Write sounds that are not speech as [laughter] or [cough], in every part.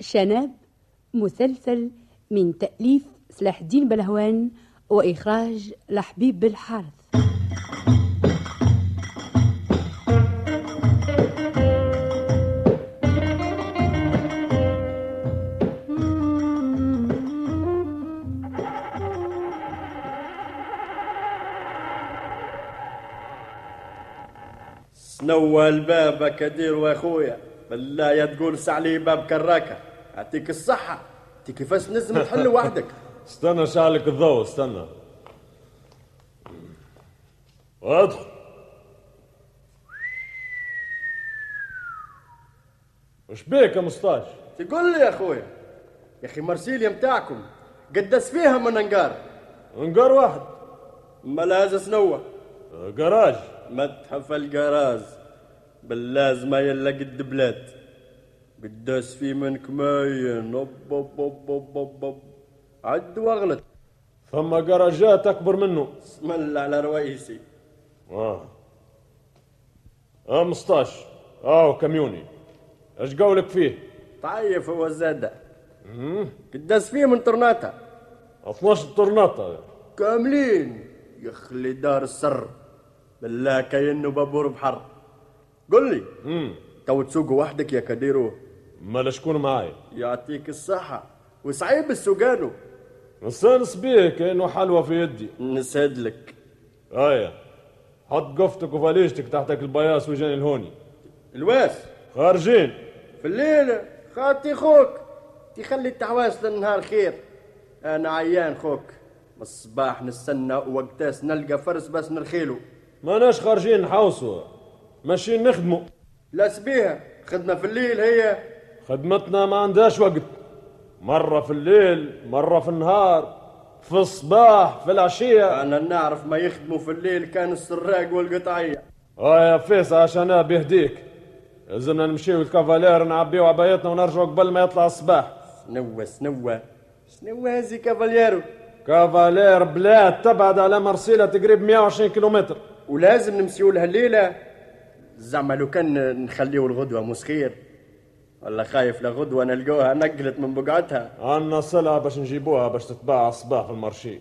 شناب مسلسل من تأليف سلاح الدين بلهوان وإخراج لحبيب بالحارث سنوى الباب كدير واخويا بالله يا تقول عليه باب كراكه اعطيك الصحه انت كيفاش نزم تحل وحدك [laughs] استنى شعلك الضوء استنى ادخل وش بيك يا مستاش تقول لي يا اخويا يا اخي مرسيليا متاعكم قداس فيها من انقار انقار واحد ملاز سنوى آه، جراج متحف الجراز باللازمة يلا قد بلاد قداس في من كماين أب أب أب أب أب أب عد واغلط ثم جراجات اكبر منه بسم الله على رئيسي اه اه مستاش اه كميوني اش قولك فيه طيف هو زادة طيب قداس فيه من طرناطة 12 طرناطة كاملين يخلي دار السر بالله كأنه بابور بحر قل لي امم تو تسوق وحدك يا كديرو مالا شكون معاي يعطيك الصحة وصعيب السوقانو نستانس بيه كانه حلوى في يدي نسهدلك ايه حط قفتك وفاليجتك تحتك البياس وجاني الهوني الواس خارجين في الليل خاطي خوك تخلي التحواس للنهار خير انا عيان خوك من الصباح نستنى وقتاس نلقى فرس بس نرخيلو ماناش خارجين نحوسوا ماشيين نخدموا لا سبيها خدنا في الليل هي خدمتنا ما عندهاش وقت مرة في الليل مرة في النهار في الصباح في العشية انا نعرف ما يخدموا في الليل كان السراق والقطعية اه يا فيس عشان بيهديك لازمنا نمشيو الكافالير نعبيو عبايتنا ونرجعوا قبل ما يطلع الصباح سنوة سنوة سنوة هزي كافاليرو كافالير بلاد تبعد على مرسيلة تقريب 120 كيلومتر ولازم نمسيو لها الليله زعما لو كان نخليو الغدوه مسخير ولا خايف لا غدوه نلقوها نقلت من بقعتها عنا سلعة باش نجيبوها باش تتباع الصباح في المارشي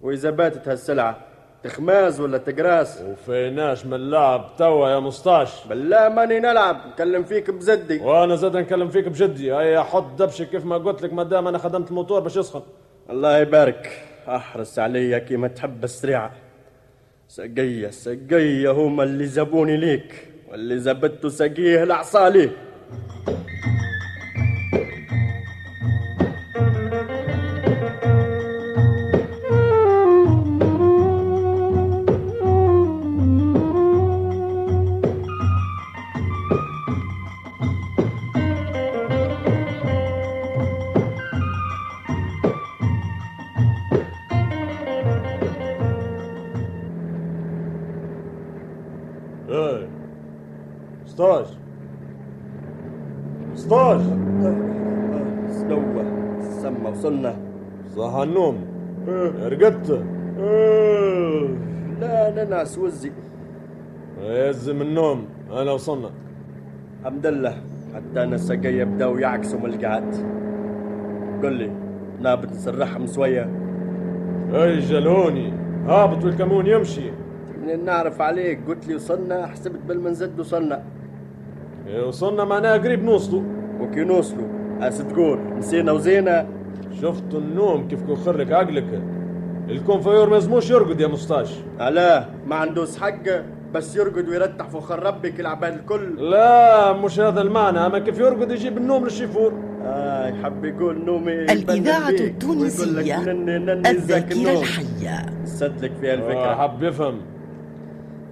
واذا باتت هالسلعه تخماز ولا تقراس وفيناش من لعب توا يا مستاش بالله ماني نلعب نكلم فيك بزدي وانا زاد نكلم فيك بجدي هيا حط دبشك كيف ما قلت لك مادام انا خدمت الموتور باش يسخن الله يبارك احرص عليا كيما تحب السريعه سقية سقية هما اللي زبوني ليك واللي زبدتو سقيه العصا ليه ايه مستاش مستاش سنوة سما وصلنا صح النوم رقدت إيه. لا ننعس وزي يزم إيه، النوم انا وصلنا الحمد لله حتى انا السقاية بداو يعكسوا من القعد قل لي نابت نسرحهم شوية اي إيه، جلوني هابط والكمون يمشي من نعرف عليك قلت لي وصلنا حسبت بالمنزد وصلنا إيه، وصلنا معناها قريب نوصلوا وكي نوصلوا أس تقول نسينا وزينا شفت النوم كيف يخر لك عقلك الكونفايور ما لازموش يرقد يا مستاش علاه ما عندوش حق بس يرقد ويرتح فخر ربك العباد الكل لا مش هذا المعنى اما كيف يرقد يجيب النوم للشيفور آه يحب يقول نومي الإذاعة يبلل بيك ويقول التونسية لك نني نني زاك الذاكرة النوم. الحية سد لك فيها آه، الفكرة حب يفهم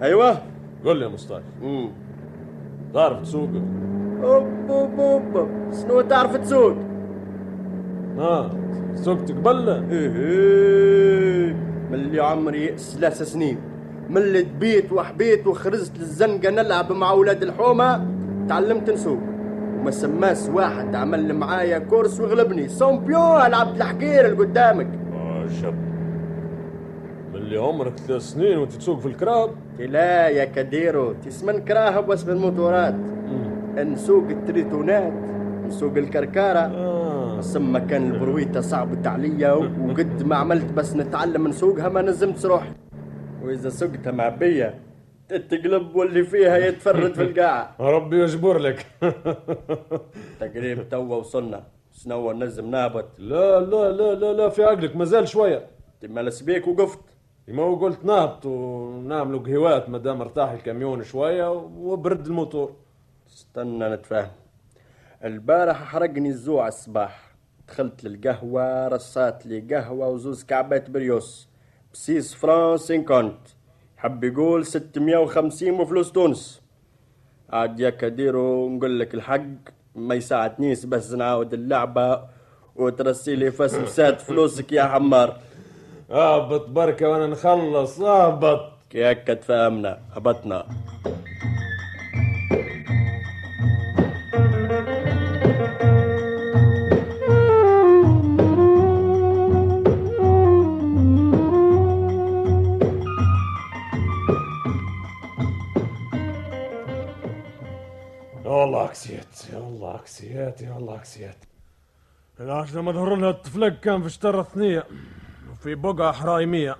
أيوه قول لي يا مصطفى مم. تعرف تسوق أوب أوب أوب شنو تعرف تسوق؟ ها سوقت قبل إيه ملي عمري ثلاث سنين ملي دبيت وحبيت وخرجت للزنقة نلعب مع ولاد الحومة تعلمت نسوق وما سماس واحد عمل معايا كورس وغلبني سامبيون لعبت الحقير اللي قدامك آه، شب من اللي عمرك ثلاث سنين وانت تسوق في الكراب لا يا كديرو تسمن كراهب واسم الموتورات نسوق التريتونات نسوق الكركارة آه. سما كان البرويته صعبت عليا وقد ما عملت بس نتعلم نسوقها ما نزمت روحي واذا سقتها معبيه تتقلب واللي فيها يتفرد في القاعه ربي يجبر لك [laughs] تقريب توا وصلنا سنو نزم نهبط لا لا لا لا لا في عقلك مازال شويه تما لسبيك وقفت كيما هو قلت نهبط ونعملوا قهوات مادام ارتاح الكاميون شويه وبرد الموتور استنى نتفاهم البارح حرقني الجوع الصباح دخلت للقهوة رصات لي قهوة وزوز كعبات بريوس بسيس فران سينكونت حب يقول 650 وفلوس تونس عاد يا كديرو نقول لك الحق ما يساعدنيش بس نعاود اللعبة وترسي لي فسفسات فلوسك يا حمار اهبط بركه وانا نخلص اهبط كي هكا تفاهمنا هبطنا يا الله عكسيات يا الله عكسيات يا الله عكسيات العشرة ما ظهر لها الطفلك كان في شطرة ثنية وفي بقعة حرايمية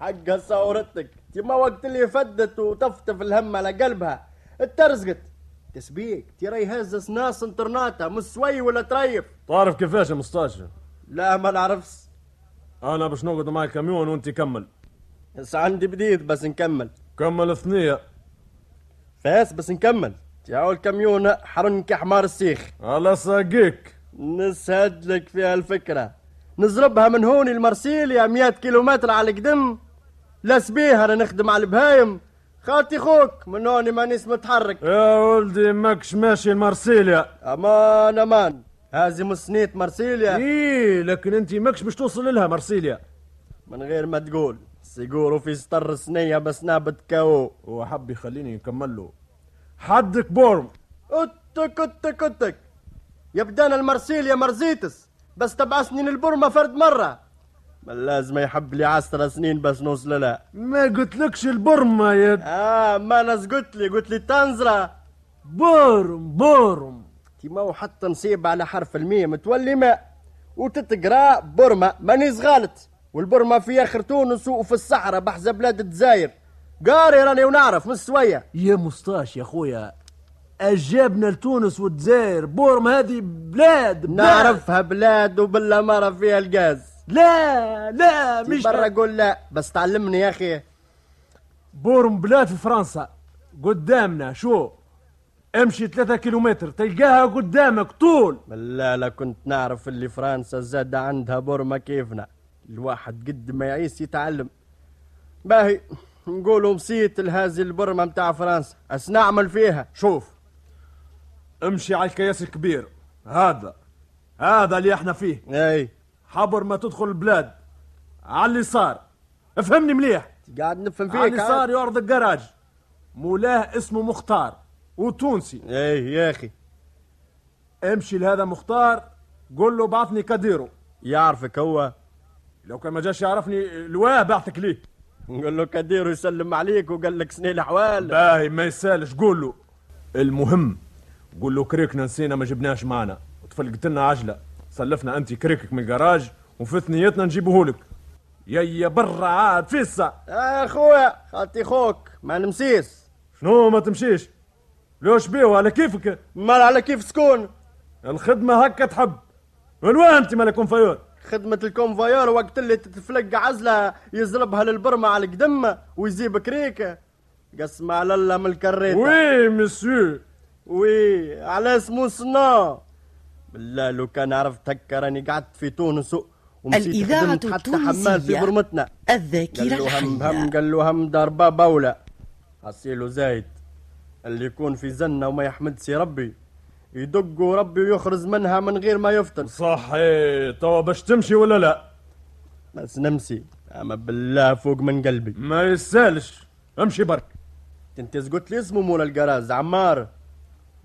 حقها صورتك تما وقت اللي فدت وطفتف الهم على قلبها اترزقت تسبيك ترى يهز ناس انترناتا مسوي ولا تريف تعرف كيفاش يا مستاشفى لا ما نعرفش انا باش نقعد مع الكاميون وانت كمل بس عندي بديد بس نكمل كمل ثنية فاس بس نكمل تعاو الكاميون حرن كحمار السيخ على ساقيك نسهد لك فيها الفكرة نزربها من هوني المرسيليا مئة كيلومتر على القدم لا سبيها انا نخدم على البهايم خاطي خوك من هوني مانيش متحرك يا ولدي ماكش ماشي لمارسيليا امان امان هازم السنيت مرسيليا ايه لكن انت ماكش باش توصل لها مارسيليا من غير ما تقول سيقولوا في سطر السنية بس نابت كاو هو حب يخليني نكمل له حدك بورم اتك اتك اتك يبدان المرسيليا مرزيتس بس تبع سنين البرمة فرد مرة ما لازم يحب لي عشر سنين بس نوصل لها ما قلتلكش البرمة يا اه ما انا قلت لي قلت لي تنزرة بورم بورم تيما وحتى نصيب على حرف الميم تولي ماء وتتقرا برما مانيش غلط والبرما في اخر تونس وفي الصحراء بحذا بلاد الجزائر قاري راني ونعرف من سوية يا مستاش يا خويا اجابنا لتونس والجزائر بورم هذه بلاد نعرفها بلاد وبلا مرة فيها الغاز لا لا مش برا قول لا بس تعلمني يا اخي بورم بلاد في فرنسا قدامنا شو امشي ثلاثة كيلومتر تلقاها قدامك طول لا لا كنت نعرف اللي فرنسا زاد عندها برما كيفنا الواحد قد ما يعيش يتعلم باهي نقولوا مسيت لهذه البرمة متاع فرنسا اش نعمل فيها شوف امشي على الكياس الكبير هذا هذا اللي احنا فيه اي حبر ما تدخل البلاد على اليسار افهمني مليح قاعد نفهم فيك على اليسار عاد. يعرض الجراج مولاه اسمه مختار وتونسي ايه يا اخي امشي لهذا مختار قول له بعثني كاديرو يعرفك هو لو كان ما جاش يعرفني الواه بعثك ليه نقول له كدير يسلم عليك وقال لك سنين الحوال باهي ما يسالش قول له المهم قول له كريكنا نسينا ما جبناش معنا وتفلقت لنا عجله سلفنا انت كريكك من الجراج وفي ثنيتنا نجيبه لك يا برا عاد فيسا يا اخويا خاطي خوك ما نمسيس شنو ما تمشيش لوش بيه على كيفك مال على كيف سكون الخدمه هكا تحب من وين انت مالك فيون خدمة الكونفايور وقت اللي تتفلق عزلة يزربها للبرمة على القدم ويزيب كريكة قسم على الله إيه، من الكريتة وي مسيو وي على اسمو صنا بالله لو كان عرفت هكا راني قعدت في تونس و- ومشيت الإذاعة خدمت حتى حمال في التونسية. برمتنا قال الذاكرة له هم هم الحية قال له هم ضربة بولة حصيله زايد اللي يكون في زنة وما يحمدش ربي يدق ربي ويخرج منها من غير ما يفطن صحي توا باش تمشي ولا لا بس نمسي اما بالله فوق من قلبي ما يسالش امشي برك انت قلت لي اسمه مولا القراز عمار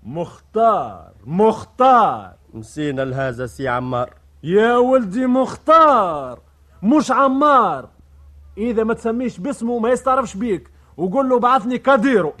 مختار مختار مسينا لهذا سي عمار يا ولدي مختار مش عمار اذا ما تسميش باسمه ما يستعرفش بيك وقول له بعثني كاديرو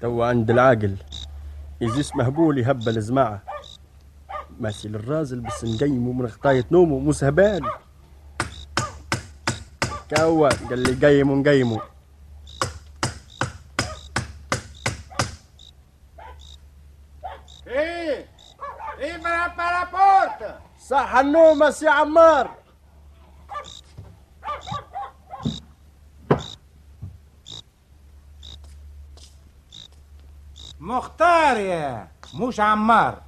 توا عند العاقل يجيش مهبول يهبل جماعة ماشي للرازل بس نقيمه من خطاية نومه مو سهبان كوا قال لي قيمه نقيمه Sì, libera per la porta! صح النوم سي عمار مختار يا مش عمار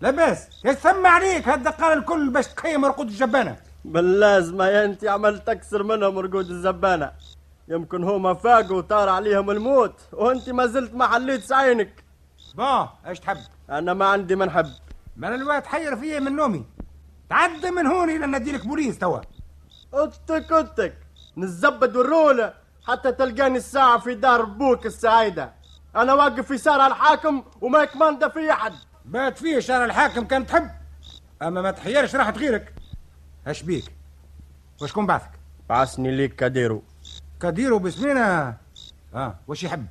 لاباس يسمى عليك هالدقار الكل باش تقيم رقود الجبانة باللازم يا انت عملت اكثر منهم رقود الزبانة يمكن هما فاقوا وطار عليهم الموت وانت ما زلت ما حليتش عينك بون ايش تحب انا ما عندي ما نحب ما أنا الوقت حير فيا من نومي تعدى من هون الى نديلك بوليس توا اتك اتك نزبد والرولة حتى تلقاني الساعة في دار بوك السعيدة أنا واقف في شارع الحاكم وما يكمندا في أحد بات فيه شارع الحاكم كان تحب اما ما تحيرش راحت غيرك اش بيك وشكون بعثك بعثني ليك كاديرو كديرو بسمينا اه وش يحب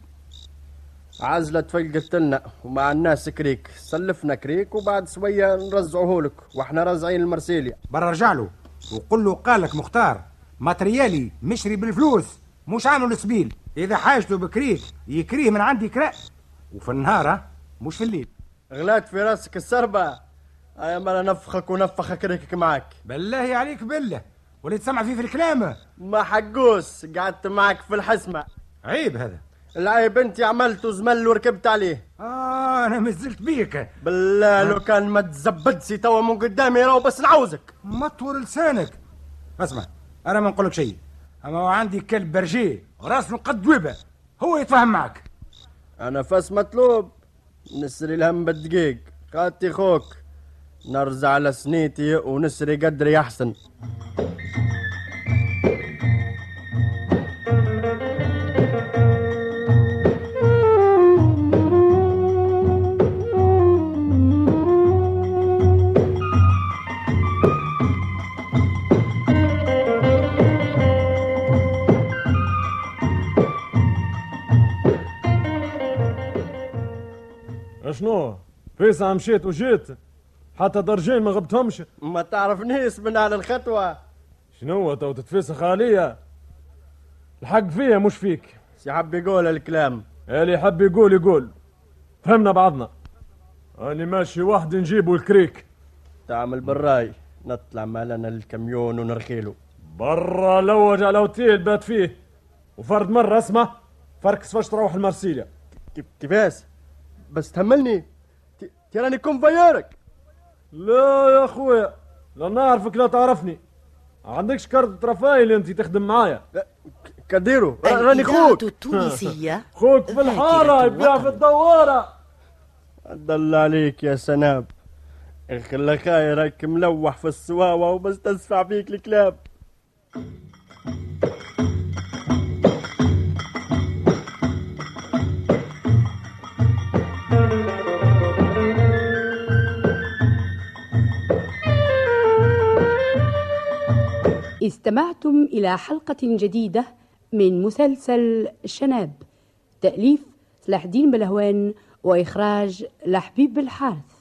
عزلة تفلقت لنا ومع الناس كريك سلفنا كريك وبعد شوية نرزعوهولك واحنا رازعين المرسيليا برا رجع له وقل له قالك مختار ماتريالي مشري بالفلوس مش عامل السبيل اذا حاجته بكريك يكريه من عندي كراء وفي النهار ها، مش في الليل غلات في راسك السربة أيا ما أنا نفخك ونفخ كريكك معاك بالله عليك بالله وليت سمع فيه في الكلام ما حقوس قعدت معك في الحسمة عيب هذا العيب انت عملته زمل وركبت عليه اه انا مزلت بيك بالله لو كان ما تزبدش توا من قدامي راهو بس نعوزك مطور لسانك اسمع انا ما نقولك شيء اما هو عندي كلب برجي راسه قد ويبه هو يتفاهم معك انا فاس مطلوب نسري الهم بالدقيق خاتي خوك نرجع على سنيتي ونسري قدري احسن شنو فيسع مشيت وجيت حتى درجين ما غبتهمش ما تعرفنيش من على الخطوة شنو تو تتفسخ عليا الحق فيا مش فيك شي حب يقول الكلام اللي يحب يقول يقول فهمنا بعضنا أنا ماشي وحدي نجيبه الكريك تعمل بالراي نطلع مالنا الكميون ونرخيله برا لوج على اوتيل بات فيه وفرد مرة اسمه فركس فاش تروح المرسيليا كيف كيفاش بس تهملني ت- تراني كونفيرك لا يا خويا لا نعرفك لا تعرفني عندكش كارت رفايل انت تخدم معايا لا، ك- كديرو أيوة، ر- راني الإذاعة خوك [laughs] التونسية خوك في الحارة ذاكرة يبيع في الوطن. الدوارة دل عليك يا سناب الخلخاي راك ملوح في السواوة وبس تسفع فيك الكلاب استمعتم إلى حلقة جديدة من مسلسل شناب تأليف سلاح الدين بلهوان وإخراج لحبيب الحارث